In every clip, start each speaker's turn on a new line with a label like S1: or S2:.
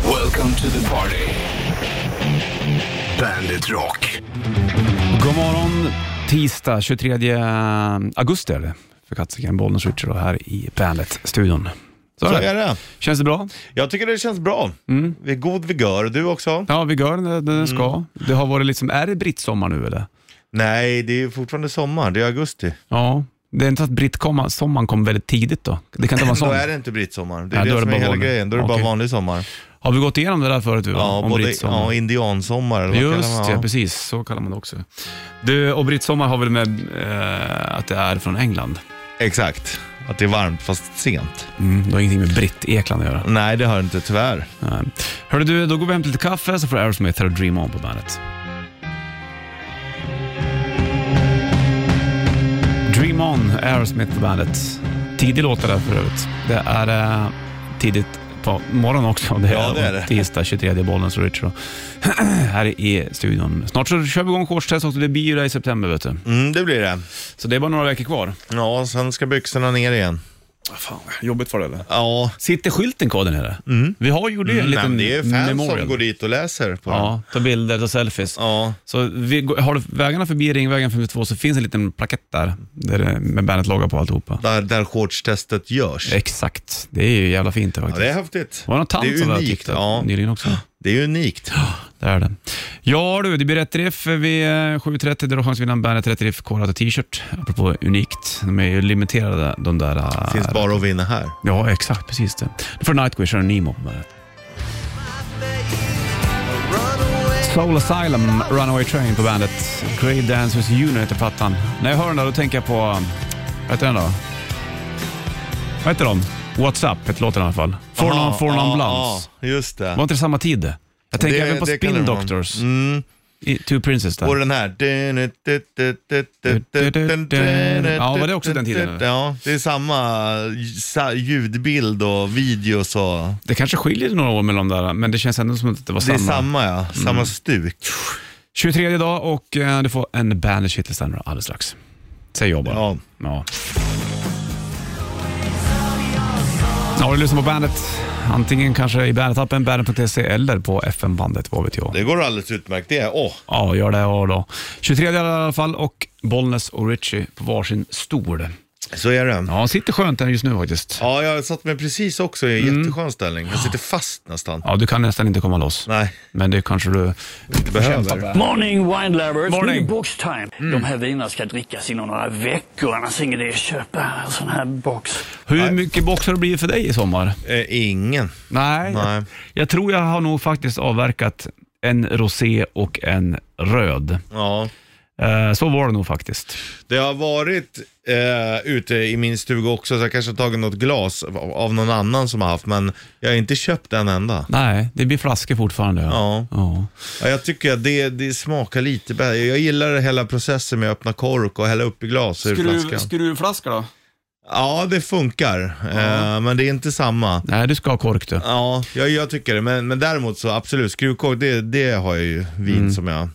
S1: Welcome to the party. Bandit Rock.
S2: God morgon, tisdag 23 augusti är det för katsiken, Bollnäs Richard och här i Bandet-studion. Så,
S3: Så
S2: är
S3: är
S2: det.
S3: det.
S2: Känns det bra?
S3: Jag tycker det känns bra.
S2: Mm.
S3: Vi är god vigör. Du också?
S2: Ja, vi gör det den ska. Det har varit liksom, är det brittsommar nu eller?
S3: Nej, det är ju fortfarande sommar. Det är augusti.
S2: Ja, det är inte så att brittsommaren kom väldigt tidigt då? Det kan inte vara
S3: Då
S2: sånt.
S3: är det inte brittsommar. Det är
S2: Nej, då är
S3: det som
S2: det bara
S3: är hela
S2: vanlig.
S3: grejen. Då är det
S2: Okej.
S3: bara vanlig sommar.
S2: Har vi gått igenom det där förut? vi, va?
S3: Ja,
S2: Om
S3: både
S2: brittsommar.
S3: ja, indiansommar eller vad kallar man
S2: Just
S3: det?
S2: det,
S3: Ja.
S2: precis. Så kallar man det också. Du, och brittsommar har väl med eh, att det är från England?
S3: Exakt. Att det är varmt fast sent.
S2: Mm, det har ingenting med britt-Ekland att göra.
S3: Nej, det har det inte tyvärr.
S2: Nej. Hörru du, då går vi hem till lite kaffe så får Aerosmith här och Dream On på bandet. Dream On, Aerosmith på bandet. Tidig låt det där för övrigt. Det är eh, tidigt på morgonen också. Det är,
S3: Ja, det är det.
S2: tisdag 23 bollen så Richard. och- här i studion. Snart så kör vi igång shortstest också. Det blir ju det i september vet du.
S3: Mm, det blir det.
S2: Så det är bara några veckor kvar.
S3: Ja, sen ska byxorna ner igen.
S2: Fan, jobbigt för det eller?
S3: Ja,
S2: Sitter skylten kvar där nere? Vi har ju det en
S3: Mm. Nej,
S2: liten
S3: men det är fans
S2: memorial.
S3: som går dit och läser på den.
S2: Ja, ta bilder, ta selfies.
S3: Ja.
S2: Så vi, går- har du vägarna förbi Ringvägen 52 så finns en liten plakett där, där det- med bandet logga på alltihopa.
S3: Där, där shortstestet görs.
S2: Exakt, det är ju jävla fint det
S3: Ja,
S2: faktiskt.
S3: det är häftigt.
S2: var det någon
S3: Det
S2: tant
S3: är
S2: som var
S3: unikt,
S2: tyckte
S3: ja.
S2: nyligen också.
S3: Det är unikt.
S2: Det är det. Ja du, det blir rätt riff vid eh, 7.30. Där har chans att vinna en Bandet Rätt Riff Korat och t-shirt. Apropå unikt, de är ju limiterade de där. eh,
S3: Finns bara att vinna här.
S2: Ja, exakt, precis det. Då får Nightwish och Nemo på bandet. Soul Asylum, Runaway Train på bandet. Great Dancers Unit heter plattan. När jag hör den där, då tänker jag på... Vad heter den då? Vad heter de? What's Up heter låten i alla fall. For
S3: Aha,
S2: Non, for non
S3: ja,
S2: Blunts.
S3: ja, Just det.
S2: Var inte det samma tid det? Jag tänker
S3: Det-
S2: även på
S3: det kan
S2: Spin
S3: det vara.
S2: Doctors,
S3: Mm.
S2: i Two Princes
S3: Och
S2: där.
S3: den här.
S2: Ja, var det också den tiden, eller?
S3: Ja, det är samma sa- ljudbild och videos och...
S2: Det kanske skiljer några år mellan de där, men det känns ändå som att det var
S3: Det är
S2: samma. Mm.
S3: samma ja, samma stuk.
S2: 23 idag och eh, du får en bandage hitlist alldeles strax. Säger jag bara.
S3: Ja.
S2: Ja. Ja, du lyssnar på bandet. Antingen kanske i bandetappen, bandet.se eller på FM-bandet, vad vet jag.
S3: Det går alldeles utmärkt det. Åh,
S2: Ja, gör det och då. 23 i alla fall och Bollnäs och Richie på varsin stol.
S3: så är det.
S2: Ja, han sitter skönt där just nu faktiskt.
S3: Ja, jag satt mig precis också i en jätteskön ställning. Jag sitter fast nästan.
S2: Mm. Ja, du kan nästan inte komma loss.
S3: Nej,
S2: Men det kanske du...
S3: det behöver.
S4: Morning wine lovers, nu
S2: Morning. Mm.
S4: är det box time. De här vinerna ska drickas inom några veckor, annars är ingen idé att köpa en sån här box.
S2: Hur mycket box har det blivit för dig i sommar?
S3: Eh, ingen.
S2: Nej,
S3: Nej.
S2: Jag tror jag har nog faktiskt avverkat en rosé och en röd.
S3: Ja.
S2: Eh, så var det nog faktiskt.
S3: Det har varit eh, ute i min stuga också, så jag kanske har tagit något glas av- av någon annan som har haft, men jag har inte köpt en enda.
S2: Nej, det blir flaskor fortfarande.
S3: Ja.
S2: ja.
S3: Ja, jag tycker att det, det smakar lite bättre. Jag gillar hela processen med att öppna kork och hälla upp i glas ur flaskan.
S2: Skruvflaska då?
S3: Ja, det funkar, eh, men det är inte samma.
S2: Nej, du ska ha kork du.
S3: Ja, jag, jag tycker det. Men, men däremot så absolut, skruvkork, det, det har jag ju vin som jag Mm.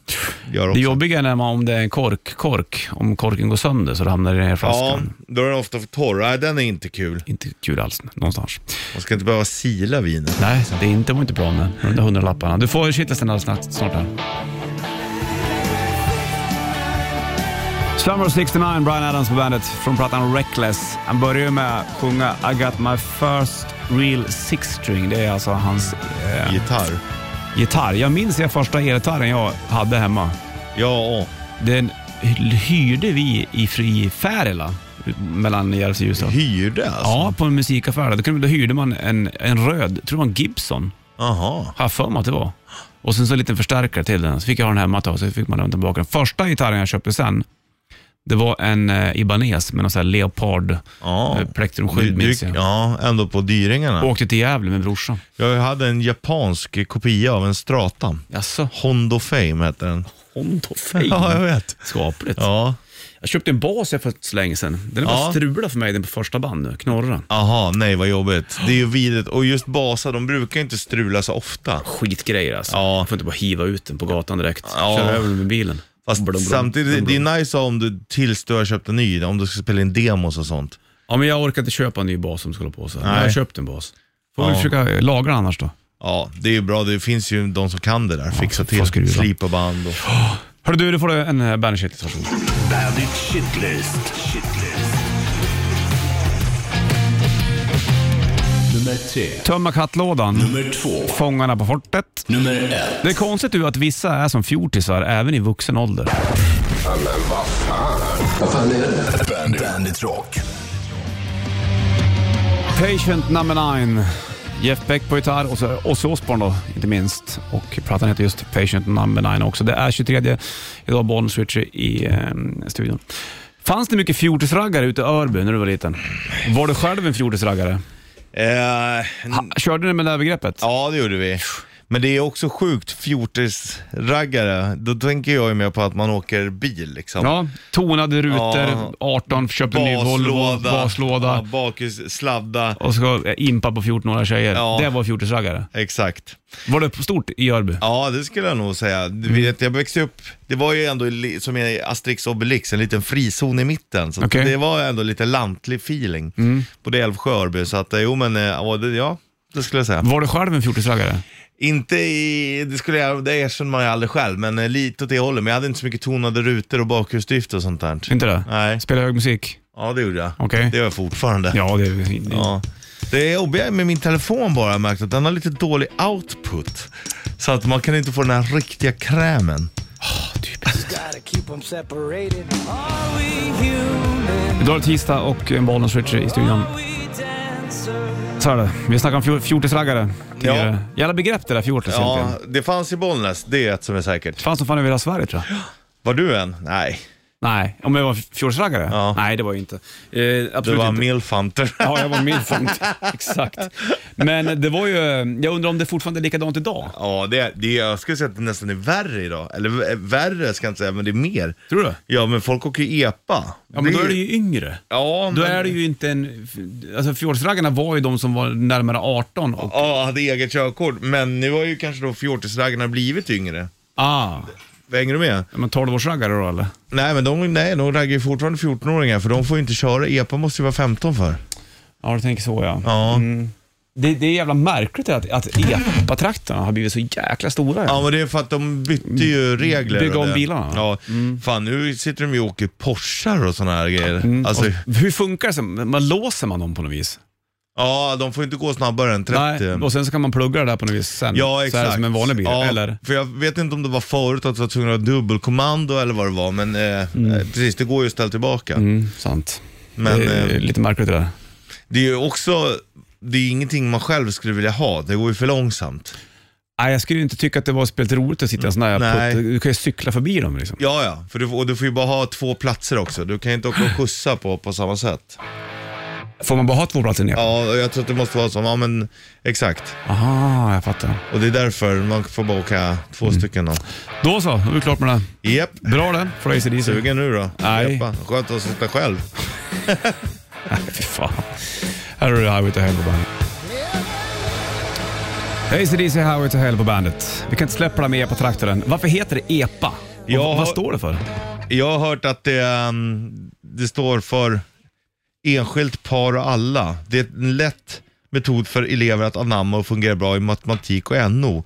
S3: gör
S2: Det
S3: också.
S2: jobbiga är när man, om det är en kork-kork, om korken går sönder så hamnar det i den här
S3: Ja,
S2: flaskan.
S3: då är den ofta för torr. Nej, den är inte kul.
S2: Inte kul alls någonstans.
S3: Man ska inte behöva sila vinet.
S2: Nej, det är inte, var inte bra med de där hundralapparna. Du får shitlisten alldeles snart, snart här. Summer of 69, Brian Adams på bandet från plattan Reckless. Han börjar ju med att sjunga I got my first real six string. Det är alltså hans eh,
S3: Gitarr.
S2: gitarr. Jag minns jag första elgitarren jag hade hemma.
S3: Ja,
S2: Den hyrde vi i fri Färila mellan Järvsö och Ljusdal.
S3: hyrde alltså?
S2: Ja, på en musikaffär. Då, kunde, då hyrde man en, en röd, tror det var en Gibson.
S3: Aha.
S2: Har jag för mig att det var. Och sen så en liten förstärkare till den. Så fick jag ha den hemma ett tag, så fick man den tillbaka. Den första gitarren jag köpte sen, det var en eh, Ibanez med någon sån här leopard
S3: Ja.
S2: eh, plektrum 7
S3: Du, du,
S2: minns jag.
S3: ja, ändå på dyringarna.
S2: Åkte till Gävle med brorsan.
S3: Jag hade en japansk kopia av en Strata.
S2: Jaså?
S3: Hondo Fame hette den.
S2: Honto Fame?
S3: Ja, jag vet.
S2: Skapligt.
S3: Ja,
S2: Jag köpte en bas här för så länge sedan. Den är bara
S3: Ja.
S2: strulad för mig, den på första band nu. Knorra.
S3: aha, nej vad jobbigt. Det är ju vidrigt. Och just basar, de brukar inte strula så ofta.
S2: Skitgrejer alltså.
S3: Ja.
S2: Man får inte bara hiva ut den på gatan direkt.
S3: Ja.
S2: Köra över den med bilen.
S3: Fast
S2: Blum, blum,
S3: samtidigt,
S2: blum, blum.
S3: det är nice om du tills du har köpt en ny, om du ska spela in demos och sånt.
S2: Ja, men jag orkar inte köpa en ny bas som ska hålla på så. här. Men
S3: Nej.
S2: Jag har köpt en bas. Får vi
S3: Ja.
S2: försöka lagra den annars då.
S3: Ja, det är ju bra. Det finns ju de som kan det där. Fixa
S2: för fan ska du
S3: till
S2: göra?
S3: slipa band och...
S2: Hörru du, du får en eh, bandage hit. Varsågod.
S1: Bandit Shitlist. Shitlist. Nummer tre.
S2: Tömma kattlådan.
S1: Nummer två.
S2: Fångarna på fortet.
S1: Nummer ett.
S2: Det är konstigt du att vissa är som fjortisar även i vuxen ålder.
S1: Bandit. Bandit Rock.
S2: Patient number nine. Jeff Beck på gitarr och så Ozzy Osbourne då, inte minst. Och plattan heter just Patient number nine också. Det är 23 idag, Bollnäs Ritchie i eh, studion. Fanns det mycket fjortisraggare ute i Örby när du var liten? Var du själv en fjortisraggare?
S3: Eh,
S2: Ha, körde ni med det här begreppet?
S3: ja, det gjorde vi. Men det är också sjukt, fjortisraggare. Då tänker jag ju mer på att man åker bil liksom.
S2: Ja, tonade rutor,
S3: Ja.
S2: 18, köpte en ny Volvo,
S3: Ja,
S2: baslåda
S3: bakhus, sladda.
S2: och så impa på 14-åriga tjejer.
S3: Ja.
S2: Det var fjortisraggare.
S3: Exakt.
S2: Var det stort i Örby?
S3: Ja, det skulle jag nog säga. Du
S2: Mm.
S3: Vet, jag växte upp, det var ju ändå li- som i Asterix och Obelix, en liten frizon i mitten. Så att
S2: Okej. Mm.
S3: det var ändå lite lantlig feeling. Både Älvsjö och Örby, så att eh, jo men eh, ja, det, ja, det skulle jag säga.
S2: Var du själv en fjortisraggare?
S3: Inte i, det skulle jag, det erkänner man ju aldrig själv, men eh, lite åt det hållet. Men jag hade inte så mycket tonade rutor och bakhusdrift och sånt där.
S2: Inte det?
S3: Nej.
S2: Spelade hög musik?
S3: Ja, det gjorde jag.
S2: Okej.
S3: Det gör jag fortfarande.
S2: Ja, det är...
S3: Ja. Det är jobbiga med min telefon bara, jag har märkt att den har lite dålig output. Så att man kan inte få den här riktiga krämen.
S2: Idag är det tisdag och en Bollnäs Ritchie i studion. Så är det. Vi snackade om fjor- fjortisraggare tidigare. Jävla begrepp det där fjortis
S3: Ja,
S2: egentligen.
S3: det fanns i Bollnäs, det är ett som är säkert.
S2: Fanns som fan över hela Sverige tror jag.
S3: Var du en? Nej,
S2: Nej, om jag var fjortisraggare?
S3: Ja.
S2: Nej, det var jag inte. Eh, absolut
S3: du var
S2: inte.
S3: milfhunter.
S2: Ja, jag var milfant. Exakt. Men det var ju... eh, Jag undrar om det fortfarande är likadant idag?
S3: Ja, det, det, jag skulle säga att det nästan är värre idag. Eller eh, värre ska jag inte säga, men det är mer.
S2: Tror du?
S3: Ja, men folk åker ju epa.
S2: Ja, men då är du ju yngre.
S3: Ja,
S2: Då
S3: men-
S2: är det ju inte en... Alltså fjortisraggarna var ju de som var närmare 18 och...
S3: Ja, hade eget körkort. Men nu har ju kanske då fjortisraggarna blivit yngre.
S2: Ah.
S3: Hänger du med?
S2: Men 12-årsraggare då eller?
S3: Nej, men de, nej, de raggar ju fortfarande 14-åringar för de får ju inte köra. Epa måste ju vara 15 för.
S2: Ja, du tänker så ja. Mm.
S3: Ja.
S2: Det, det är jävla märkligt att, att epatraktorna har blivit så jäkla stora.
S3: Ja, men det är för att de bytte ju regler.
S2: Mm. Bygga
S3: och
S2: om
S3: det.
S2: bilarna. Mm.
S3: Ja. Fan, nu sitter de ju och åker Porschar och sådana här grejer. Alltså,
S2: Och hur funkar det? sen? Man låser man dem på något vis?
S3: ja, de får ju inte gå snabbare än 30.
S2: Nej, och sen så kan man plugga det där på något vis sen.
S3: Ja,
S2: Så
S3: exakt.
S2: här som en vanlig bil,
S3: Ja,
S2: eller?
S3: För jag vet inte om det var förut att du var tvungen att ha dubbelkommando eller vad det var, men eh, eh, precis, det går ju att ställa tillbaka.
S2: Mm, sant.
S3: Men,
S2: det är
S3: eh,
S2: lite märkligt det där.
S3: Det är ju också, det är ju ingenting man själv skulle vilja ha, det går ju för långsamt.
S2: Nej, jag skulle ju inte tycka att det var speciellt roligt att sitta i en sån här
S3: Nej.
S2: putt. Du kan ju cykla förbi dem liksom.
S3: Ja, ja, för du, får- och du får ju bara ha två platser också, du kan ju inte åka och skjutsa på, på samma sätt.
S2: Får man bara ha två platser ner?
S3: Ja, och jag tror att det måste vara så, ja men exakt.
S2: Aha, jag fattar.
S3: Och det är därför man får bara åka två stycken då.
S2: Då så, då är vi klart med det. här.
S3: Japp,
S2: Bra det, från ACDC.
S3: sugen nu då?
S2: Nej.
S3: Jeppa, Skönt att sitta själv.
S2: Fy fan. Här har du Highway to Hell på bandet. ACDC Highway to Hell på bandet. Vi kan inte släppa det här med E EPA-traktoren. Varför heter det EPA? Och
S3: Jag har-
S2: Vad står det för?
S3: Jag har hört att det, ehm, det står för enskilt par och alla. Det är en lätt metod för elever att anamma och fungera bra i matematik och NO.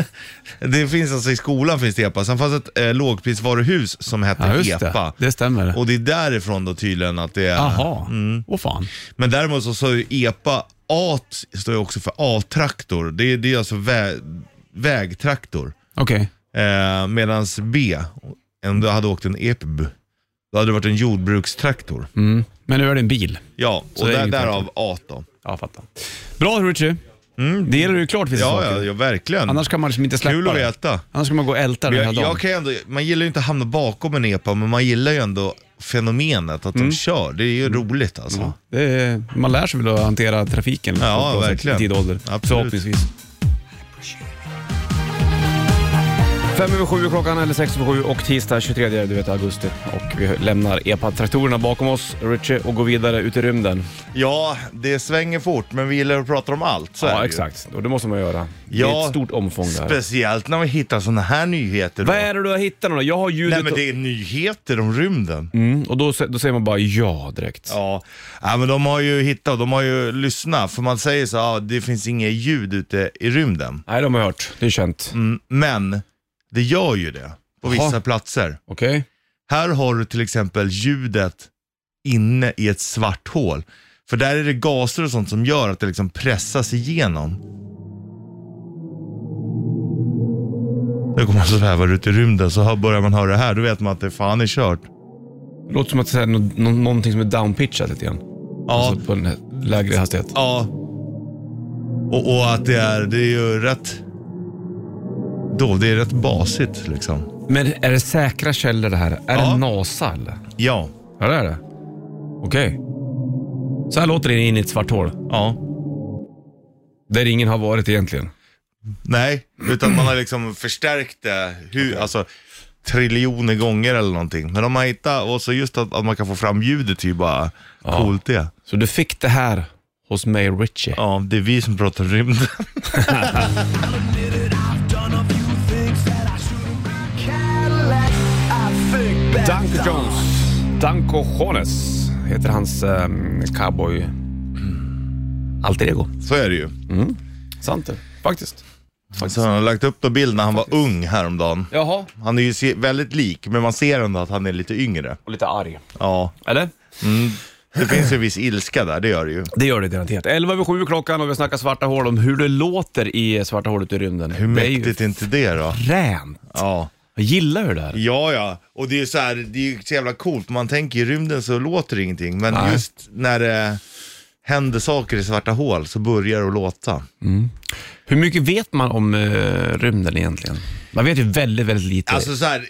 S3: det finns alltså i skolan finns det EPA. Sen fanns ett eh, lågprisvaruhus som hette
S2: Ja, just det.
S3: EPA.
S2: Det stämmer.
S3: Och det är därifrån då tydligen att det är...
S2: Jaha.
S3: Mm.
S2: Åh fan.
S3: Men däremot så står ju EPA, A står ju också för A-traktor. Det, är- det är alltså vä- vägtraktor.
S2: Okej.
S3: Eh, Medan B, om du hade åkt en EPB, då hade det varit en jordbrukstraktor.
S2: Mm. Men nu är det en bil.
S3: Ja,
S2: Så
S3: och
S2: det är
S3: där,
S2: ingen
S3: därav
S2: traktor.
S3: A då.
S2: Ja, fattar. Bra Richie. Det gäller ju klart vissa
S3: Mm. Ja,
S2: saker.
S3: ja, ja verkligen.
S2: Annars kan man liksom inte släppa
S3: Kul att
S2: det.
S3: veta.
S2: Annars kan man gå och älta det hela
S3: Jag, jag
S2: dagen.
S3: kan ju ändå, man gillar ju inte att hamna bakom en EPA, men man gillar ju ändå fenomenet att
S2: Mm.
S3: de kör. Det är ju roligt alltså.
S2: Det är, man lär sig väl att hantera trafiken
S3: Ja,
S2: på ett bra sätt
S3: verkligen.
S2: i tid och ålder.
S3: Absolut.
S2: Förhoppningsvis. Fem över sju är klockan, eller sex över sju och tisdag 23 du vet, augusti. Och Vi lämnar EPA-traktorerna bakom oss, Richie, och går vidare ut i rymden.
S3: Ja, det svänger fort, men vi gillar att prata om allt. Så är det
S2: Ja,
S3: ju.
S2: exakt. Och det måste man göra. det är
S3: Ja,
S2: ett stort omfång där.
S3: Speciellt när vi hittar sådana här nyheter. Då.
S2: Vad är det du har hittat nu då? Jag har ljudet
S3: Nej, men det är nyheter om rymden.
S2: mm, och då, sä- då säger man bara ja direkt.
S3: Ja. ja, men de har ju hittat, de har ju lyssnat, för man säger så ja, det finns inget ljud ute i rymden.
S2: Nej, de har jag hört. Det är känt.
S3: Mm, men det gör ju det på
S2: Jaha.
S3: vissa platser.
S2: Okej?
S3: Här har du till exempel ljudet inne i ett svart hål. För där är det gaser och sånt som gör att det liksom pressas igenom. Nu kommer man sväva ut i rymden så hör- börjar man höra det här, då vet man att det fan är kört.
S2: Låter som att säga nå- nå- någonting som är downpitchat lite grann.
S3: Ja,
S2: Alltså på en hä- lägre hastighet.
S3: ja. Och, och att det är, det är ju rätt... Då, det är rätt basigt liksom.
S2: Men är det säkra källor det här? Är det
S3: Ja.
S2: NASA eller?
S3: Ja,
S2: Ja, det är det. Okej. Så här låter det in i ett svart hål.
S3: ja.
S2: Där ingen har varit egentligen.
S3: Nej, utan man har liksom förstärkt det hur, alltså, triljoner gånger eller någonting. Men de har hittat, och så just att, att man kan få fram ljudet är ju bara coolt det.
S2: Så du fick det här hos mig Richie.
S3: Ja, det är vi som pratar rymden.
S2: Danko Jones. Danko Jones heter hans ehm, cowboy... Alter ego.
S3: Så är det ju.
S2: Sant det. Faktiskt.
S3: Så han har lagt upp en bild när han var ung häromdagen.
S2: Jaha.
S3: Han är ju se- väldigt lik, men man ser ändå att han är lite yngre.
S2: Och lite arg.
S3: Ja,
S2: Eller?
S3: det finns ju en viss ilska där, det gör det ju.
S2: Det gör det garanterat. 11 över 7 klockan och vi snackar svarta hål om hur det låter i svarta hålet i rymden.
S3: Hur
S2: det är ju
S3: mäktigt är inte det då?
S2: fränt.
S3: Ja.
S2: Jag gillar hur det är.
S3: Ja, ja. Och det är ju så här, det är ju så jävla coolt. Man tänker i rymden så låter det ingenting. Men
S2: Nej.
S3: just när det händer saker i svarta hål så börjar det att låta.
S2: Hur mycket vet man om eh, rymden egentligen? Man vet ju väldigt, väldigt lite.
S3: Alltså så här,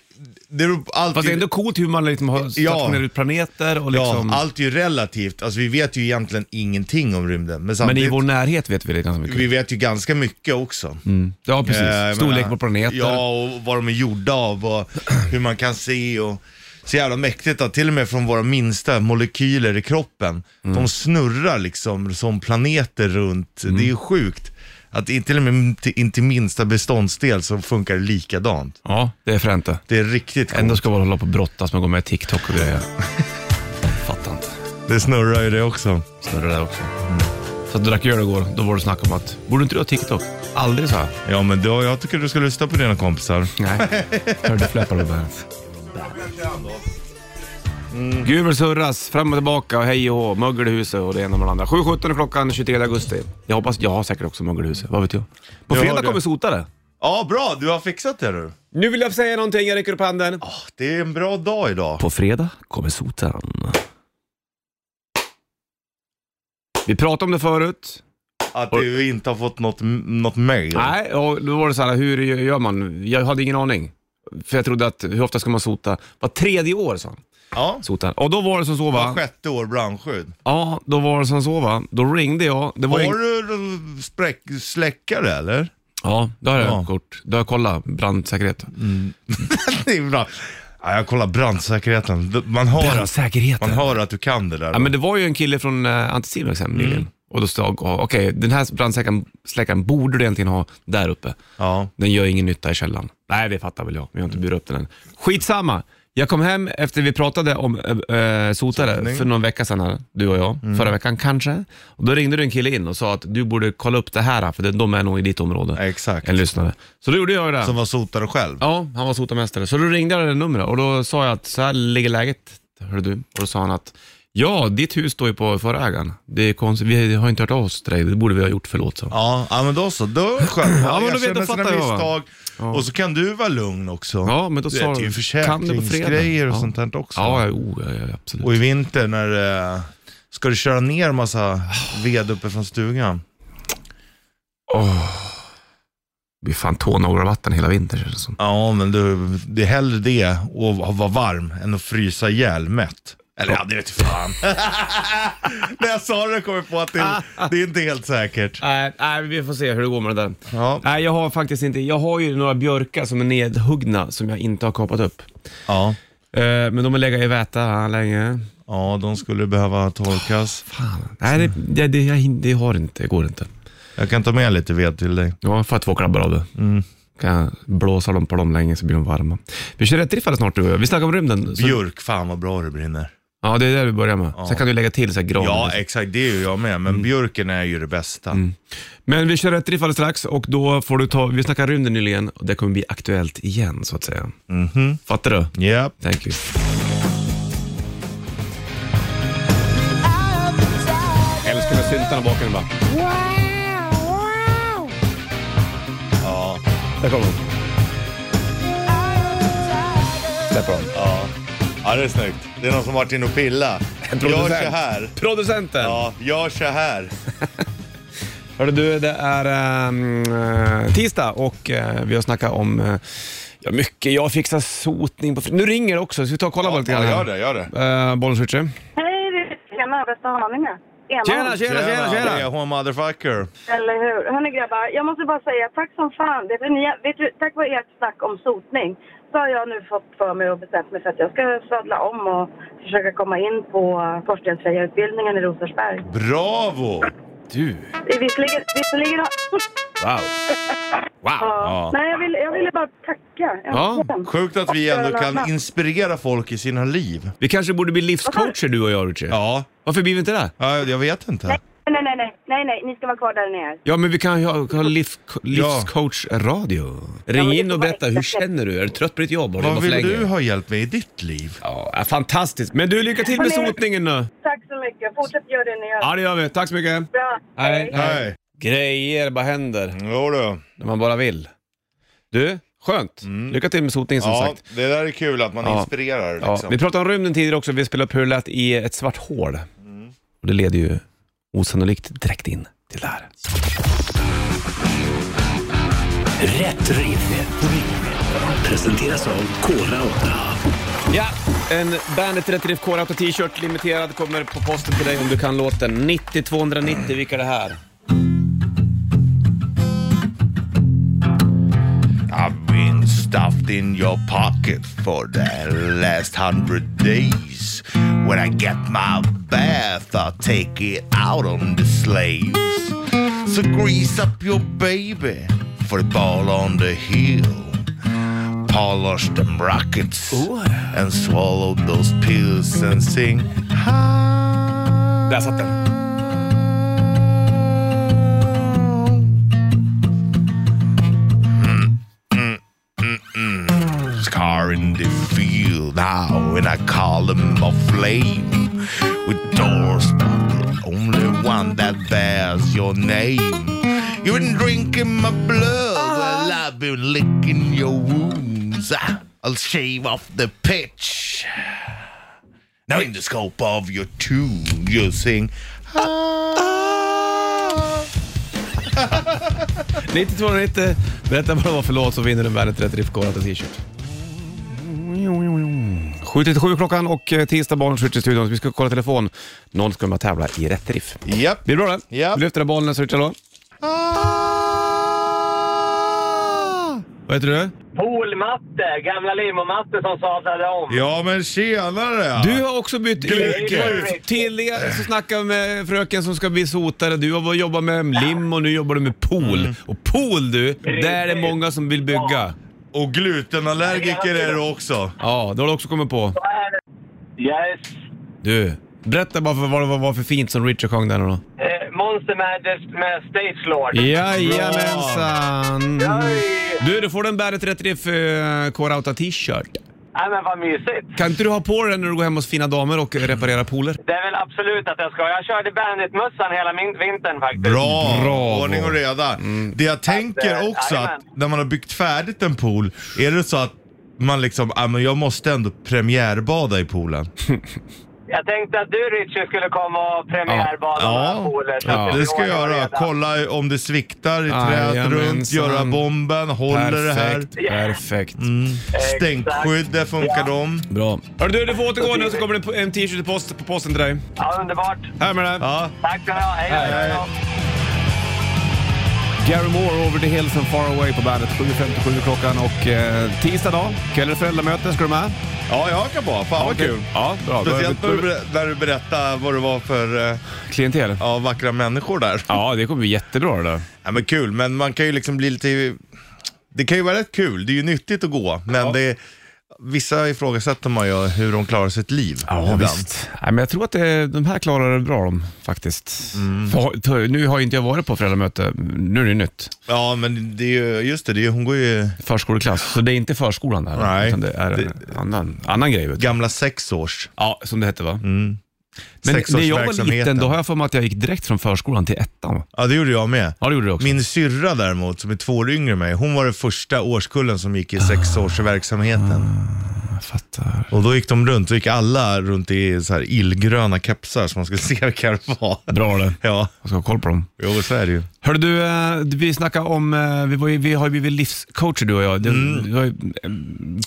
S3: det är
S2: Fast
S3: allt
S2: det är
S3: ju,
S2: ändå coolt hur man liksom har stationerat
S3: Ja.
S2: ut planeter och
S3: ja,
S2: liksom...
S3: allt är ju relativt. Alltså vi vet ju egentligen ingenting om rymden. Men
S2: men
S3: samtidigt,
S2: i vår närhet vet vi det ganska mycket.
S3: vi vet ju ganska mycket också.
S2: Mm. Ja, precis.
S3: Eh, jag
S2: Storlek
S3: menar,
S2: på planeter.
S3: Ja, och vad de är gjorda av och hur man kan se och så jävla mäktigt att till och med från våra minsta molekyler i kroppen, de snurrar liksom som planeter runt. Det är ju sjukt. Att i- till och med inte, inte minsta beståndsdel så funkar det likadant.
S2: Ja, det är fränt det.
S3: Det är riktigt coolt.
S2: Ändå ska man hålla på och brottas med att gå med i TikTok och grejer. Fattar inte.
S3: Det snurrar ju det också.
S2: Snurrar där också. Mm. Så att du drack öl igår, då var det snack om att, borde inte du ha TikTok? Aldrig sa jag.
S3: Ja, men då, jag tycker du ska lyssna på dina kompisar.
S2: Nej, hörde fläppar på bandet. Gud vill surras, fram och tillbaka och hej och hå, mögel i huset och det ena med det andra. 7.17 är klockan 23 augusti. Jag hoppas, jag har säkert också mögel i huset, vad vet jag? På
S3: Ja,
S2: fredag
S3: det-
S2: kommer sotare.
S3: Ja, bra. Du har fixat det du.
S2: Nu vill jag säga någonting, jag räcker upp handen.
S3: Ah, Det är en bra dag idag.
S2: På fredag kommer sotaren. Vi pratade om det förut.
S3: Att du inte har fått något, något mail.
S2: Nej, och då var det så här, hur gör man? Jag hade ingen aning. För jag trodde att, hur ofta ska man sota? Var tredje år sa han.
S3: Ja.
S2: Sotaren. Och då var det som så va?
S3: Var sjätte år brandskydd.
S2: Ja, då var det som så va. Då ringde jag. Det var
S3: Har
S2: ing-
S3: du spräck, släckare eller?
S2: Ja, då har jag
S3: Ja.
S2: kort. Då har jag kollat brandsäkerhet.
S3: det är bra. Ja, jag kollar brandsäkerheten. D- Man hör, att, man
S2: Brandsäkerheten?
S3: hör att du kan det där.
S2: Ja, men det var ju en kille från äh, Anticimex hem nyligen. Och då stod okej, den här brandsläckaren borde du egentligen ha där uppe.
S3: ja.
S2: Den gör ingen nytta i källan. Nej, det fattar väl jag. Vi har inte burit upp den än. Skitsamma. Jag kom hem efter vi pratade om äh, äh, sotare för någon vecka sedan, här, du och jag.
S3: Mm.
S2: Förra veckan kanske. Och då ringde du en kille in och sa att du borde kolla upp det här, för de är nog i ditt område.
S3: Exakt.
S2: En lyssnare. Så då gjorde jag det.
S3: Som var sotare själv.
S2: Ja, han var sotarmästare. Så då ringde jag det numret och då sa jag att så här ligger läget, hör du. Och då sa han att ja, ditt hus står ju på förra ägaren. Det är konstigt, vi har inte hört av oss till dig. Det borde vi ha gjort, förlåt. Så.
S3: Ja, ja, men då så. Då är det skönt.
S2: Ja, men då vet-
S3: Erkänner
S2: då
S3: sina
S2: fattar jag, va?
S3: misstag. Och så kan du vara lugn också.
S2: Ja, men då
S3: du
S2: sa
S3: vet ju
S2: du, kan du på fredag?
S3: försäkringsgrejer och
S2: Ja.
S3: sånt här också.
S2: Ja, ja, oh, ja, ja absolut.
S3: Och i vinter när eh, ska du köra ner massa ved uppe från stugan?
S2: Vi fan tåna over vatten hela vintern känns det som.
S3: Ja, men du, det är hellre det och vara varm än att frysa ihjäl mätt. Eller ja, det vet jag fan. När jag sa det kom jag på att det, det är inte helt säkert.
S2: Nej, nej, vi får se hur det går med det där.
S3: Ja.
S2: Nej, jag har faktiskt inte, jag har ju några björkar som är nedhuggna som jag inte har kapat upp.
S3: Ja.
S2: Eh, men de har legat i väta länge.
S3: Ja, de skulle behöva torkas.
S2: Fan. Nej, det, det, det, jag, hin- det har inte. Det går inte.
S3: Jag kan ta med lite ved till dig.
S2: Ja, jag får två klabbar av det.
S3: Mm.
S2: Kan jag blåsa dem på dem länge så blir de varma. Vi kör rätt riff alldeles snart du och jag. Vi snackar om rymden. Så,
S3: Björk, fan vad bra det brinner.
S2: ja, det är där vi börjar med. Sen kan du lägga till så här gran.
S3: Ja, Mm. exakt. Det är ju jag med. Men björken är ju det bästa.
S2: Men vi kör rätt riff alldeles strax och då får du ta, vi snackade rymden nyligen och det kommer bli aktuellt igen så att säga.
S3: Mhm.
S2: Fattar du?
S3: Japp.
S2: Thank you. Älskar med syntarna bakom va?
S3: Ja.
S2: Där kommer de. Släpper de.
S3: Ja. ja, det är snyggt. Det är någon som varit inne och pilla. Gör så här.
S2: Producenten!
S3: Ja, gör så här.
S2: Hörru du, det är ehm, eh, tisdag och eh, vi har snackat om eh, ja, mycket. Jag fixar sotning på fr- Nu ringer det också, så vi tar och kollar på lite
S3: Ja,
S2: grann.
S3: gör det, gör det.
S2: Uh, Bollenswitcher.
S5: Hej, det är Lena i Västerhaninge. Ena.
S2: Tjena, tjena, tjena,
S3: Det är
S2: tjena!
S3: hon motherfucker.
S5: Eller hur? Hörni grabbar, jag måste bara säga tack som fan. Det är för ni, vet du, tack vare ert snack om sotning så har jag nu fått för mig och bestämt mig för att jag ska sadla om och försöka komma in på eh, skorstensfejarutbildningen i Rosersberg.
S3: Bravo!
S2: Du,
S5: Det är Visserligen... visserligen har,
S2: wow. Wow.
S5: ja. Nej, jag ville jag ville bara tacka.
S2: Ja,
S5: Äntligen.
S3: Sjukt att vi ändå kan
S5: Jävlar.
S3: inspirera folk i sina liv.
S2: Vi kanske borde bli livscoacher du och jag, Richie.
S3: Ja,
S2: Varför blir vi inte det?
S3: ja jag vet inte.
S5: Nej, nej, nej, nej, nej, ni ska vara kvar där ni är.
S2: Ja, men vi kan ju ha, ha liv, livscoach-radio. Ring
S5: men det
S2: in och
S5: får vara
S2: berätta, hur
S5: extra.
S2: känner du? Är du trött på ditt jobb? Har du
S3: Vad
S2: jobbat för
S3: vill
S2: länge?
S3: du ha hjälp med i ditt liv?
S2: Ja, fantastiskt. Men du, lycka till med
S5: Men-
S2: sotningen nu.
S5: Tack så mycket. Fortsätt göra det ni gör.
S2: Ja, det gör vi. Tack så mycket.
S5: Bra.
S2: Hej.
S3: Nej.
S2: Grejer bara händer
S3: Jo du.
S2: när man bara vill. Du, skönt. Lycka till med sotningen som
S3: Ja,
S2: sagt.
S3: det där är kul att man
S2: Ja.
S3: inspirerar
S2: Ja,
S3: liksom.
S2: Vi pratade om rymden tidigare också. Vi spelade upp hur det lät i ett svart hål. Och det leder ju osannolikt direkt in till det här.
S1: Rätt riff. Presenteras av Kora 8.
S2: Ja, en Bandet Rätt Riff Core Auto T-shirt limiterad kommer på posten till dig om du kan låten. 90 290, vilka är det här?
S3: I've been stuffed in your pocket for the last hundred days. When I get my bath, I'll take it out on the slaves. So grease up your baby for the ball on the hill. Polish them rockets and swallow those pills and sing.
S2: Där satt den.
S3: Scar in the field now, and I call him a flame. With doors, the only one that bears your name. You've been drinking my blood, well, I've been licking your wounds. Ah, I'll shave off the pitch. Now, in the scope of your tune, you sing. Ah.
S2: 90 290, berätta vad det var för låt så vinner du en Bandet Rätt Riff Core Auto T-shirt. 7.37 klockan och eh, tisdag barnen skjuter i studion. Så Vi ska kolla telefon. Någon ska med och tävla i Rätt Riff.
S3: Yep.
S2: Blir det bra det?
S3: Ja.
S2: Vi lyfter den bollen så Richard då. Vad heter du?
S6: Polmatte, gamla limomatte som sadlade om.
S3: Ja, men tjenare!
S2: Du har också bytt yrke.
S6: Gud.
S2: Tidigare så snackade vi med fröken som ska bli sotare. Du har jobbat med lim och nu jobbar du med pool. Och pool du, där är det många som vill bygga.
S3: Och glutenallergiker är du också.
S2: Ja, det har du också kommit på.
S6: Yes.
S2: Du, berätta bara för vad det var för fint som Richard sjöng där nu då.
S6: Eh, Monster Madness med Stage Lord.
S2: Jajamensan!
S6: Oj.
S2: Du, du får den Bandet Rätt Riff eh, Core Outta T-shirt.
S6: Nej men vad mysigt.
S2: Kan inte du ha på den när du går hem hos fina damer och reparerar pooler?
S6: Det är väl absolut att jag ska. Jag körde Bandit-mössan hela min- vintern faktiskt.
S3: Bra!
S2: Bravo. Mm.
S3: Ordning och reda. Det jag
S6: Att,
S3: tänker
S6: eh,
S3: också att
S6: jajamän.
S3: när man har byggt färdigt en pool, är det så att man liksom, ah, men jag måste ändå premiärbada i poolen.
S6: Jag tänkte att du Richie skulle komma och premiärbada
S3: Ja.
S6: några pooler. så
S2: Ja.
S6: att
S3: Det ska jag
S6: blir ordning och
S3: göra.
S6: reda.
S3: Kolla om det sviktar i träet
S2: Jajamensan.
S3: runt, göra bomben, håller det här.
S2: Perfekt, perfekt.
S3: Stänkskydd, där funkar de.
S2: Bra. Hörru du, du får återgå nu så kommer det en t-shirt i post, på posten till dig.
S6: Ja, underbart.
S2: Här med det.
S3: Ja.
S6: Tack ska ni ha. Hej, hej.
S3: Hej.
S6: hej.
S2: Gary Moore, Over the Hills and Far Away på bandet. 7.57 klockan och eh, tisdag dag, kväll är det föräldramöte. Ska du med?
S3: Ja, jag kan vara. Fan vad kul.
S2: Ja, bra. Då är
S3: Speciellt
S2: vi-
S3: när du, ber- när du berättade vad det var för eh,
S2: Klientel.
S3: ja, vackra människor där.
S2: Ja, det kommer bli jättebra det där.
S3: Ja, men kul, men man kan ju liksom bli lite... Det kan ju vara rätt kul, det är ju nyttigt att gå, men det, vissa ifrågasätter man ju hur de klarar sitt liv. ibland.
S2: Nej, men jag tror att det, de här klarar det bra de faktiskt.
S3: Mm.
S2: För, t- nu har ju inte jag varit på föräldramöte, nu är det ju nytt.
S3: Ja, men det är ju, just det, det är, hon går ju
S2: Förskoleklass, så det är inte förskolan där.
S3: Nej.
S2: Utan det är en annan, annan grej. Vet du.
S3: gamla sexårs.
S2: Ja, som det hette va? Men när jag var liten,
S3: Mm. Sexårsverksamheten.
S2: då har jag för mig att jag gick direkt från förskolan till ettan. va?
S3: Ja, det gjorde jag med.
S2: Ja, det gjorde du också.
S3: Min syrra däremot, som är två år yngre än mig, hon var den första årskullen som gick i sexårsverksamheten.
S2: Jag fattar.
S3: Och då gick de runt, då gick alla runt i så här illgröna kepsar som man skulle se vilka det var.
S2: Bra det.
S3: Ja,
S2: Jag ska ha koll på dem.
S3: jo så är det ju.
S2: Hörde du, eh, vi snackade om, eh, vi, var ju, vi har ju blivit livscoacher du och jag. Du, du har ju, eh,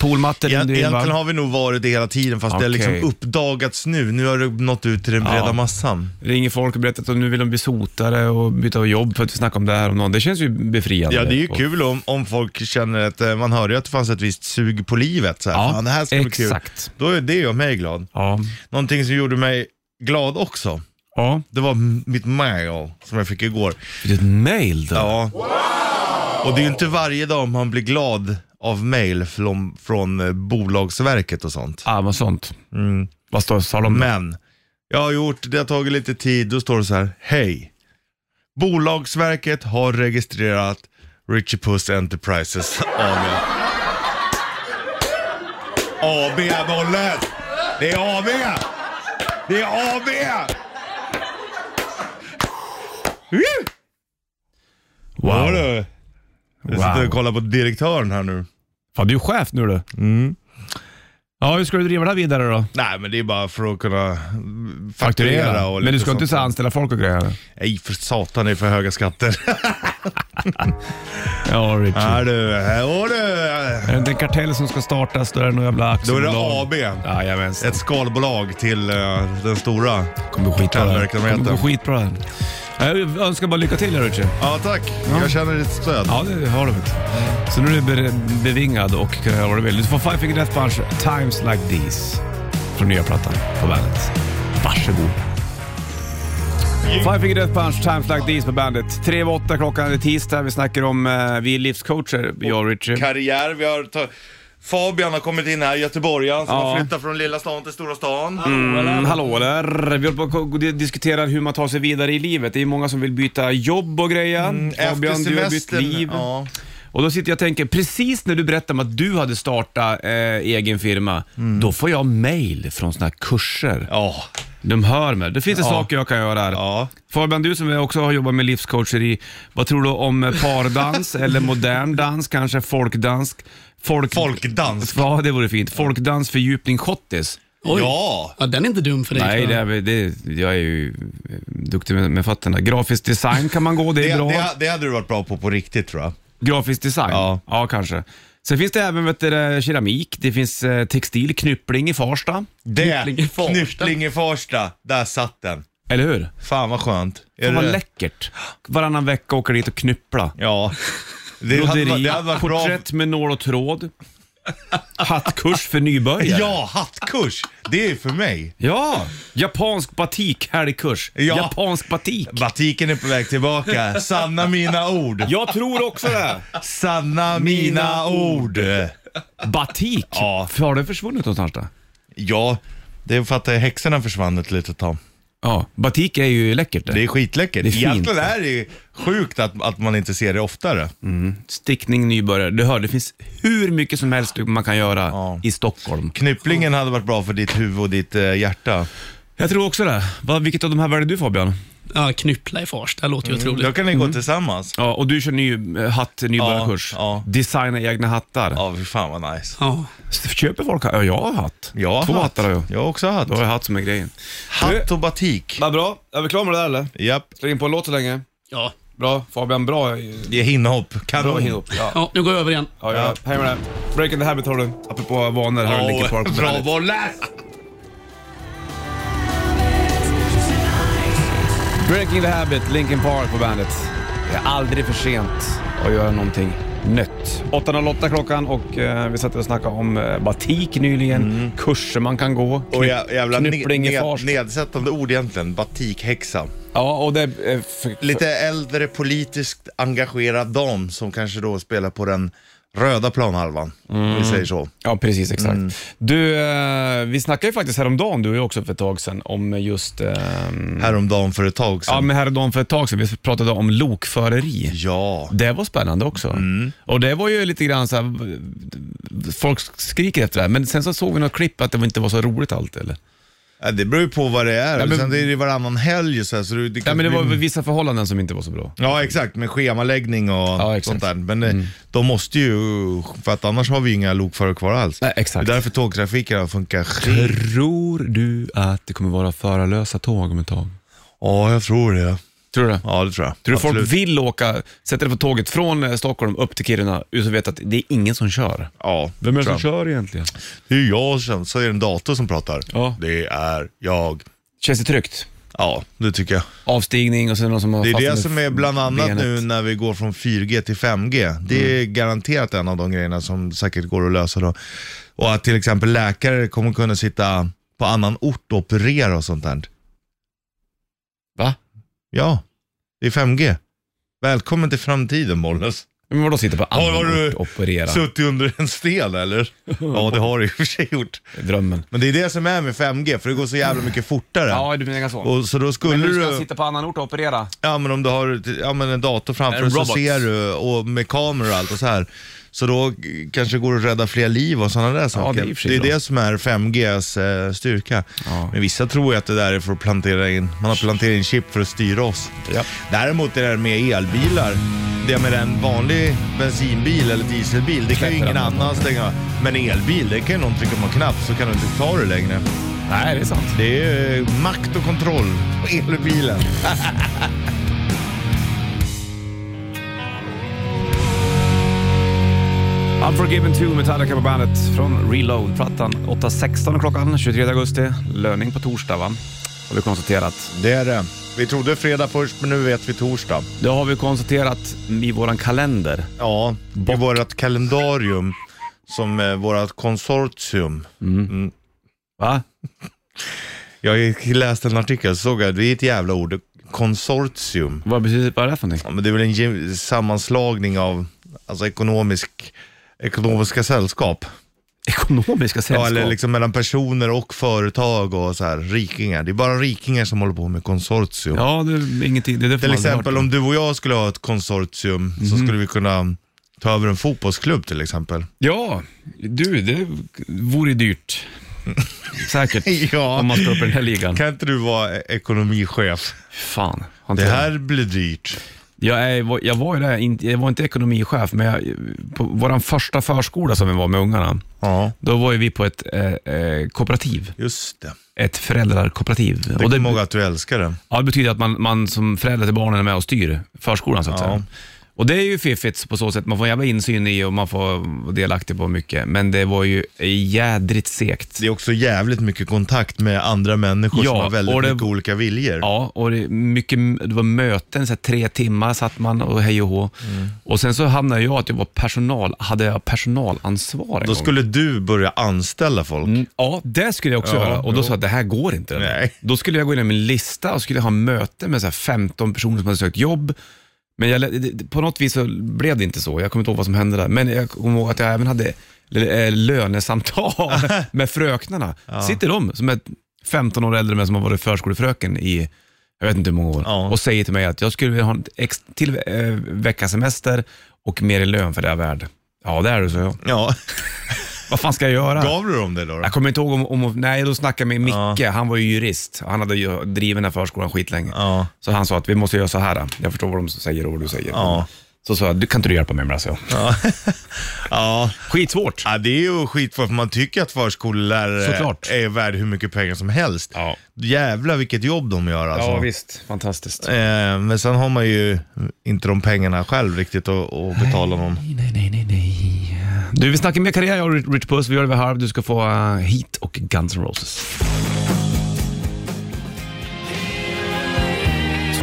S2: Polmatte
S3: Mm. Egent-
S2: ringde in, va?
S3: Egentligen har vi nog varit det hela tiden fast det har
S2: Okej.
S3: liksom uppdagats nu. Nu har det nått ut till den breda
S2: Ja.
S3: massan.
S2: ringer folk och berättar att de nu vill de bli sotare och byta jobb för att vi snackade om det här om någon. Det känns ju befriande.
S3: Ja, det är ju
S2: Och-
S3: kul om, om folk känner att eh, man hörde ju att det fanns ett visst sug på livet. Så här,
S2: Ja,
S3: Fan, det här ska bli kul.
S2: exakt.
S3: Då är det gör mig glad.
S2: Ja.
S3: Någonting som gjorde mig glad också,
S2: ja.
S3: det var m- mitt mail som jag fick igår.
S2: Fick du ett mail då?
S3: Ja. Och det är ju inte varje dag man blir glad av mail från, från eh, Bolagsverket och sånt.
S2: Ah, vad sånt. Vad står sa de?
S3: Mm. Men jag har gjort, det har tagit lite tid, då står det så här, hej. Bolagsverket har registrerat Richie Puss Enterprises AB. AB bollen! Det är AB! Det är AB! Woo! Ja,
S2: Wow.
S3: du. Jag sitter och kollar på direktören här nu.
S2: Fan, du är ju chef nu du.
S3: Mm.
S2: Ja, hur ska du driva det här vidare då?
S3: Nej men det är bara för att kunna fakturera, och
S2: Men du
S3: lite
S2: ska inte
S3: sånt
S2: så
S3: där.
S2: anställa folk och grejer?
S3: Nej för satan det är för höga skatter.
S2: Ja, Richard.
S3: Ja du, åh du.
S2: Är det inte en kartell som ska startas, då är det någon jävla
S3: Då är
S2: aktiebolag.
S3: det AB.
S2: Jajamensan.
S3: Ett skalbolag till eh, den stora.
S2: Kommer gå skitbra det här.
S3: kartellverksamheten.
S2: Kommer gå skitbra det här. Jag önskar bara lycka till Richie.
S3: Ja tack, jag känner ditt stöd.
S2: Ja, det har du. Så nu är du be- bevingad och kan göra vad du vill. Du får Five Finger Death Punch, Times Like These, från nya plattan på bandet. Varsågod. Five Finger Death Punch, Times Like These på bandet. Tre över åtta klockan, det är tisdag. Vi snackar om, eh, vi är livscoacher, jag och Richie.
S3: Karriär, vi har ta- Fabian har kommit in här, göteborgaren som
S2: Ja.
S3: har flyttat från lilla stan till stora stan.
S2: Mm, hallå där! Vi håller på och diskuterar hur man tar sig vidare i livet. Det är många som vill byta jobb och grejer.
S3: Mm,
S2: Fabian, du har bytt liv.
S3: Ja.
S2: Och då sitter jag och tänker, precis när du berättade om att du hade startat eh, egen firma, då får jag mail från såna här kurser.
S3: Ja.
S2: De hör mig. Det finns det saker jag kan göra här.
S3: Ja.
S2: Fabian, du som också har jobbat med livscoacheri, vad tror du om eh, pardans eller modern dans, kanske folkdans? Folk...
S3: Folkdans.
S2: Ja, det vore fint. Folkdans, fördjupning, schottis.
S7: Oj.
S3: Ja.
S7: Ja, den är inte dum för dig.
S2: Nej,
S7: tror
S2: det
S7: jag.
S2: är, väl- det, jag är ju eh, duktig med, med fötterna. Grafisk design kan man gå, det är
S3: Det,
S2: bra.
S3: det, det hade du varit bra på på riktigt tror jag.
S2: Grafisk design?
S3: Ja.
S2: ja kanske. Sen finns det även vet du, det, keramik, det finns eh, textil, knyppling i Farsta.
S3: Det,
S7: Knyppling i Farsta.
S3: Knyppling i Farsta. Där satt den.
S2: Eller hur?
S3: Fan vad skönt. Är
S2: Fan vad
S3: det-
S2: läckert. Varannan vecka åker dit och knyppla.
S3: Ja. Det hade,
S2: Broderi,
S3: varit- det hade varit bra.
S2: porträtt med nål och tråd. Hattkurs för nybörjare.
S3: Ja, hattkurs. Det är för mig.
S2: ja! Japansk batik, helgkurs.
S3: Ja.
S2: Japansk batik.
S3: Batiken är på väg tillbaka. Sanna mina ord.
S2: Jag tror också det.
S3: Sanna mina ord.
S2: Batik?
S3: Ja.
S2: Har det försvunnit någonstans då?
S3: Ja, det är för att eh, häxorna försvann ett litet tag.
S2: Ja, batik är ju läckert
S3: Det är skitläckert.
S2: Det är fint.
S3: Egentligen är det ju sjukt att, att man inte ser det oftare.
S2: Mm. stickning nybörjare. Du hör, det finns hur mycket som helst man kan göra
S3: Ja.
S2: i Stockholm.
S3: Knypplingen hade varit bra för ditt huvud och ditt eh, hjärta.
S2: Jag tror också det. Vad- Vilket av de här väljer du Fabian?
S7: Ja, knyppla i Farsta låter ju otroligt.
S3: Då kan ni
S2: Mm.
S3: gå tillsammans.
S2: Ja, och du kör ny eh, hatt, nybörjarkurs.
S3: Ja, ja.
S2: Designa egna hattar.
S3: Ja, fy fan vad nice.
S7: Ja.
S2: S- Köper folk hatt? Ja, jag har hatt.
S3: Jag har
S2: Två
S3: hatt.
S2: hattar har jag.
S3: Jag har också hatt.
S2: Då har jag hatt som är grejen.
S3: Hatt och batik.
S2: Vad bra. Är vi klara med det där eller?
S3: Japp.
S2: Släng in på en låt så länge.
S7: Ja.
S2: Bra. Fabian, bra.
S3: Det är hinnhopp.
S2: Bra
S3: Kanon.
S2: inhopp. Ja,
S7: ja, nu går jag över igen.
S2: ja, ja. Hej med det. Breaking the habit har du. Apropå vanor har du Linkin Park på
S3: bra
S2: bandet.
S3: bollar!
S2: Breaking the habit, Linkin Park på bandet. Det är aldrig för sent att göra någonting nytt. 8.08 klockan och eh, vi satt och snackade om eh, batik nyligen, kurser man kan gå,
S3: Och jä- jävla ne-
S2: knyppling i
S3: ned,
S2: fars.
S3: nedsättande ord egentligen, batikhäxa.
S2: Ja, och det... eh, för-
S3: Lite äldre politiskt engagerad dam som kanske då spelar på den röda planhalvan.
S2: Mm.
S3: Vi säger så.
S2: Ja, precis. Exakt. Du, eh, vi snackade ju faktiskt häromdagen, du och jag också för ett tag sedan, om just... Eh,
S3: Häromdagen för ett tag sedan.
S2: ja, men häromdagen för ett tag sedan. Vi pratade om lokföreri.
S3: Ja.
S2: Det var spännande också.
S3: Mm.
S2: Och det var ju lite grann så här, folk skriker efter det här, men sen så såg vi något klipp att det inte var så roligt allt eller?
S3: Ja, det beror ju på vad det är.
S2: Ja, men-
S3: Sen det är det varannan helg så, här, så det, det
S2: Ja,
S3: kan
S2: men det
S3: bli-
S2: var vissa förhållanden som inte var så bra.
S3: Ja exakt, med schemaläggning och
S2: exakt. Mm.
S3: sånt där. Men eh, de måste ju, för att annars har vi ju inga lokförare kvar alls.
S2: Nej, exakt.
S3: Det är därför tågtrafiken funkar skit.
S2: Tror du att det kommer vara förarlösa tåg om ett tag?
S3: Ja, jag tror det.
S2: Tror du det?
S3: Ja, det tror jag.
S2: Tror du
S3: Absolut.
S2: folk vill åka, sätta dig på tåget från eh, Stockholm upp till Kiruna utan att veta att det är ingen som kör?
S3: Ja, tror jag.
S2: kör egentligen?
S3: Det är jag som, så är det en dator som pratar.
S2: Ja.
S3: Det är jag.
S2: Känns det tryggt?
S3: Ja, det tycker jag.
S2: Avstigning och sen någon som har
S3: Det är
S2: fastnat
S3: det
S2: med
S3: som är bland annat
S2: benet. Mm.
S3: nu när vi går från 4G till 5G. Det är garanterat en av de grejerna som säkert går att lösa då. Och att till exempel läkare kommer kunna sitta på annan ort och operera och sånt där.
S2: Va?
S3: Ja, det är 5G. Välkommen till framtiden Bollnäs.
S2: Men vadå sitta på
S3: Har, har
S2: annan
S3: du
S2: ort och operera?
S3: suttit under en sten eller? Ja, det har du i och för sig gjort.
S2: Drömmen.
S3: Men det är det som är med 5G, för det går så jävla mycket fortare.
S2: Ja, du menar så.
S3: Och så då skulle
S2: Men nu
S3: du...
S2: ska jag sitta på annan ort och operera.
S3: Ja men om du har ja, men en dator framför
S2: En
S3: dig så
S2: robot.
S3: ser du och med kameror och allt och så här. Så då eh, kanske går det att rädda fler liv och sådana där saker.
S2: det är i och för sig
S3: det är
S2: bra.
S3: det som är 5Gs eh, styrka. Men vissa tror ju att det där är för att plantera in, man har planterat in chip för att styra oss.
S2: Ja.
S3: Däremot det där med elbilar, det med en vanlig bensinbil eller dieselbil, det kan
S2: Släpper
S3: ju ingen
S2: den.
S3: annan stänga. Men elbil, det kan ju någon trycka på en knapp så kan du inte ta det längre.
S2: Nej, det är sant.
S3: Det är eh, makt och kontroll på elbilen.
S2: Unforgiven 2 Metallica på bandet från Reload-plattan. 8.16 klockan 23 augusti. Löning på torsdag va? Har vi konstaterat.
S3: Det är det. Vi trodde fredag först, men nu vet vi torsdag.
S2: Det har vi konstaterat i våran kalender.
S3: Ja, i vårt kalendarium, som är vårt konsortium.
S2: Va?
S3: Jag gick- läste en artikel så såg jag, det är ett jävla ord, konsortium.
S2: Vad betyder vad är det för någonting?
S3: Ja, men det är väl en gem- sammanslagning av alltså ekonomisk, ekonomiska sällskap.
S2: Ekonomiska sällskap?
S3: Ja, eller liksom mellan personer och företag och så här, rikingar. Det är bara rikingar som håller på med konsortium.
S2: Ja, det är ingenting. Det är det Mhm.
S3: Till exempel om du och jag skulle ha ett konsortium så skulle vi kunna ta över en fotbollsklubb till exempel.
S2: Ja, du, det vore dyrt. Säkert.
S3: Ja.
S2: Om man ska upp i den här ligan.
S3: Kan inte du vara e- ekonomichef?
S2: Fan. har inte
S3: Det
S2: jag-
S3: här blir dyrt.
S2: Jag, är, jag var ju där, inte- jag var inte ekonomichef, men jag, på vår första förskola som vi var med ungarna,
S3: Ja,
S2: då var ju vi på ett eh, eh, kooperativ,
S3: just det.
S2: ett föräldrarkooperativ.
S3: Det
S2: och det,
S3: kommer ihåg att du älskar det.
S2: ja, det betyder att man, man som förälder till barnen är med och styr förskolan så att
S3: Ja.
S2: säga. Och det är ju fiffigt på så sätt, man får en jävla insyn i och man får vara delaktig på mycket, men det var ju jädrigt segt.
S3: Det är också jävligt mycket kontakt med andra människor som
S2: Ja,
S3: har väldigt
S2: och det-
S3: mycket olika viljor.
S2: Ja, och det, är mycket, det var möten, så här, tre timmar satt man och hej och hå.
S3: Mm.
S2: Och sen så hamnade jag att jag var personal, hade jag personalansvar en
S3: Då
S2: gång.
S3: skulle du börja anställa folk.
S2: Mm, Ja, det skulle jag också
S3: Ja,
S2: göra. Och då
S3: jo.
S2: sa jag att det här går inte. det där.
S3: Nej.
S2: Då skulle jag gå in i min lista och skulle ha möte med så här 15 personer som hade sökt jobb. Men jag, lä- det- det- på något vis så blev det inte så. Jag kommer inte ihåg vad som hände där. Men jag kommer ihåg att jag även hade l- eh, lönesamtal med fröknarna. Sitter de som är 15 år äldre men som har varit förskolefröken i jag vet inte hur många år
S3: Ja.
S2: och säger till mig att jag skulle vilja ha en ex- till eh, veckas semester och mer i lön för det jag är värd. Ja, det är du, så jag.
S3: Ja,
S2: Vad fan ska jag göra?
S3: gav du dem det då? då?
S2: Jag kommer inte ihåg om, om nej då snackade jag med Micke, han var ju jurist. Han hade ju drivit den här förskolan skitlänge.
S3: Ja.
S2: Så han sa att vi måste göra så här. då. Jag förstår vad de säger och vad du säger.
S3: Ja.
S2: Så sa jag, du, kan inte du hjälpa mig med det? Så.
S3: Ja.
S2: Skitsvårt.
S3: ja, det är ju skitbra för man tycker att förskollärare
S2: Såklart.
S3: är värd hur mycket pengar som helst.
S2: Ja.
S3: Jävlar vilket jobb de gör alltså.
S2: visst. Fantastiskt.
S3: Eh, men sen har man ju inte de pengarna själv riktigt att, att betala någon.
S2: Nej, nej, nej, nej. Du, vi snackar mer karriär jag och Rich- Rich Puss. Vi gör det vid halv. Du ska få eh, Heat och Guns N' Roses.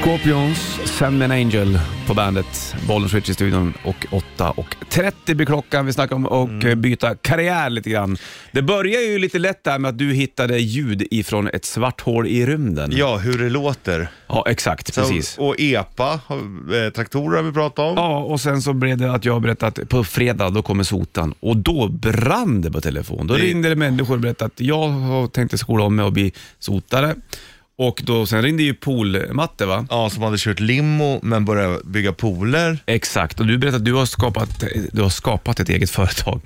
S2: Squall Scorpions, Send Me An Angel på bandet. Bollen Switch i studion och 8.30 blir klockan. Vi snackar om att eh, byta karriär lite grann. Det börjar ju lite lätt där med att du hittade ljud ifrån ett svart hål i rymden.
S3: Ja, hur det låter.
S2: Ja, exakt.
S3: Sen-
S2: Mm. precis.
S3: Och EPA, har- eh, traktorer har vi pratat om.
S2: Ja, och sen så blev det att jag berättade att på fredag då kommer sotan och då brann det på telefon. Då ringde det människor och berättade att jag har tänkt skola om mig och bli sotare. Och då, sen ringde ju Pool-Matte va?
S3: Ja, som hade kört limo men började bygga pooler.
S2: Exakt, och du berättade att du har skapat, du har skapat ett eget företag.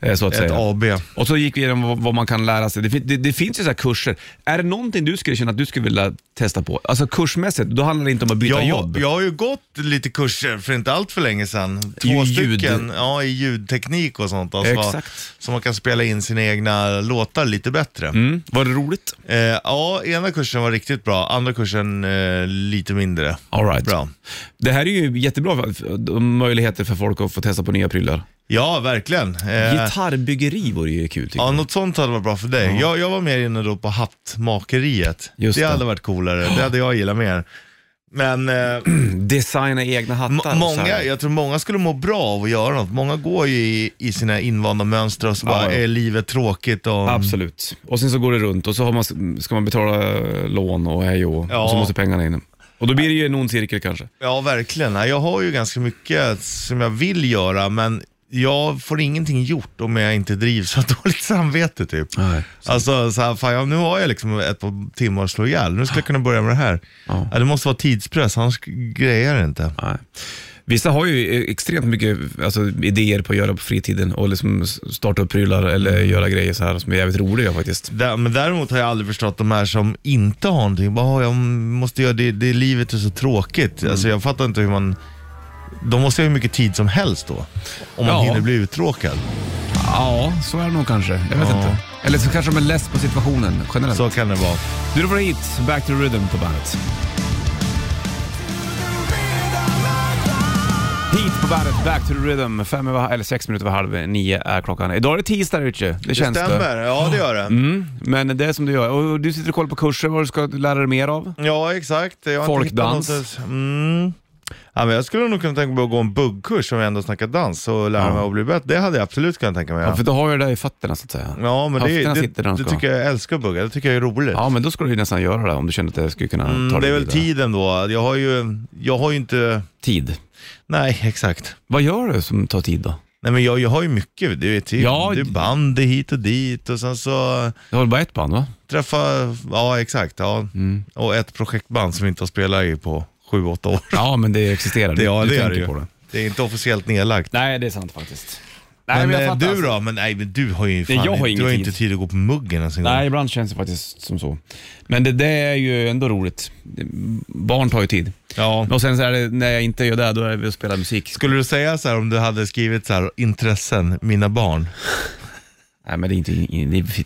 S2: eh, Så att
S3: Ett
S2: säga.
S3: AB.
S2: Och så gick vi igenom vad- vad man kan lära sig. Det, fin- det, det finns ju så här kurser. Är det någonting du skulle känna att du skulle vilja testa på? Alltså kursmässigt, då handlar det inte om att byta
S3: Jag,
S2: jobb.
S3: har- jag har ju gått lite kurser för inte allt för länge sedan. Två
S2: Ju ljud.
S3: stycken ja, i ljudteknik och sånt. Alltså,
S2: Exakt.
S3: vad- Så man kan spela in sina egna låtar lite bättre.
S2: Mm. Var det roligt?
S3: Eh, ja, ena kursen var riktigt bra, andra kursen eh, lite mindre.
S2: All right.
S3: Bra.
S2: Det här är ju jättebra för- för- möjligheter för folk att få testa på nya prylar.
S3: Ja, verkligen. Eh,
S2: Gitarrbyggeri vore ju kul tycker
S3: ja,
S2: jag.
S3: något sånt hade varit bra för dig. Jag, jag var mer inne då på hattmakeriet.
S2: Just
S3: det,
S2: det.
S3: hade varit coolare, det hade jag gillat mer. Men eh,
S2: Designa egna
S3: M-
S2: hattar. och så
S3: Många,
S2: här.
S3: jag tror många skulle må bra av att göra något. Många går ju i, i sina invanda mönster och så
S2: Ja,
S3: bara
S2: ja.
S3: är livet tråkigt och...
S2: Absolut. Och sen så går det runt och så har man, ska man betala eh, lån och hej och,
S3: Ja.
S2: och så måste pengarna in. Och då blir det ju en ond cirkel kanske.
S3: Ja, verkligen. Nej, Jag har ju ganska mycket som jag vill göra, men jag får ingenting gjort om jag inte drivs av dåligt samvete typ.
S2: Nej.
S3: Alltså så här, fan, ja, nu har jag liksom ett par timmar att slå ihjäl. Nu skulle jag kunna börja med det här.
S2: Ja.
S3: Ja, det måste vara tidspress, annars grejer jag det inte.
S2: Nej. Vissa har ju eh, extremt mycket alltså, idéer på att göra på fritiden och liksom s- starta upp prylar eller göra grejer så här som är jävligt roliga faktiskt.
S3: Dä- Men däremot har jag aldrig förstått de här som inte har någonting. Bara, "Åh, jag måste göra det, det livet är så tråkigt.
S2: Mm.
S3: Alltså jag fattar inte hur man... De måste ha hur mycket tid som helst då. Om man
S2: Ja.
S3: hinner bli uttråkad.
S2: Ja, så är det nog kanske. Jag vet
S3: Ja.
S2: inte. Eller så kanske de är less på situationen generellt.
S3: Så kan det vara.
S2: Du, då får du hit Back to the Rhythm på bandet. Hit på bandet, Back to the Rhythm. Fem över, eller sex minuter över halv nio är klockan. Idag är det tisdag Richie. Det, känns det.
S3: Stämmer, ja det gör det.
S2: Mm, men det är som du gör. Och du sitter och kollar på kurser, vad du ska lära dig mer av.
S3: Ja exakt. Jag har inte
S2: Folkdans.
S3: hittat något- Mm. Ja, men jag skulle nog kunna tänka mig att gå en buggkurs om jag ändå snackar dans och lära
S2: Ja.
S3: mig att bli bättre. Det hade jag absolut kunnat tänka mig.
S2: Ja,
S3: Ja,
S2: för då har jag det där i fötterna så att säga.
S3: men det,
S2: Höfterna
S3: det,
S2: sitter där de
S3: det
S2: ska.
S3: tycker jag, jag älskar att bugga. Det tycker jag är roligt.
S2: Ja, men då skulle du ju nästan göra det om du kände att det skulle kunna ta
S3: Mm, det
S2: dig
S3: är väl
S2: vidare.
S3: tiden då. Jag har ju, jag har ju inte...
S2: tid.
S3: Nej, exakt.
S2: Vad gör du som tar tid då?
S3: Nej men jag, jag har ju mycket, du vet,
S2: Ja,
S3: ja, det är band det är hit och dit och sen så
S2: Du har bara ett band va?
S3: träffa, ja exakt, ja.
S2: Mm.
S3: och ett projektband som vi inte har spelat i på sju, åtta år.
S2: Ja, men det existerar. Du-
S3: ja,
S2: du
S3: det är
S2: tänker
S3: det ju.
S2: på det.
S3: Det är inte officiellt nedlagt.
S2: Nej, det är sant faktiskt.
S3: men
S2: jag
S3: eh,
S2: fattar,
S3: du
S2: alltså.
S3: då? Men, nej, men du har ju fan,
S2: jag har
S3: du
S2: ingen
S3: har ju
S2: tid.
S3: inte tid att gå på muggen ens en gång.
S2: Nej, ibland känns det faktiskt som så. Men det, det är ju ändå roligt. Barn tar ju tid.
S3: Ja.
S2: Och sen så är det, när jag inte gör det, då är vi och spelar musik.
S3: Skulle du säga så här om du hade skrivit så här, intressen, mina barn?
S2: Nej, men det är, inte,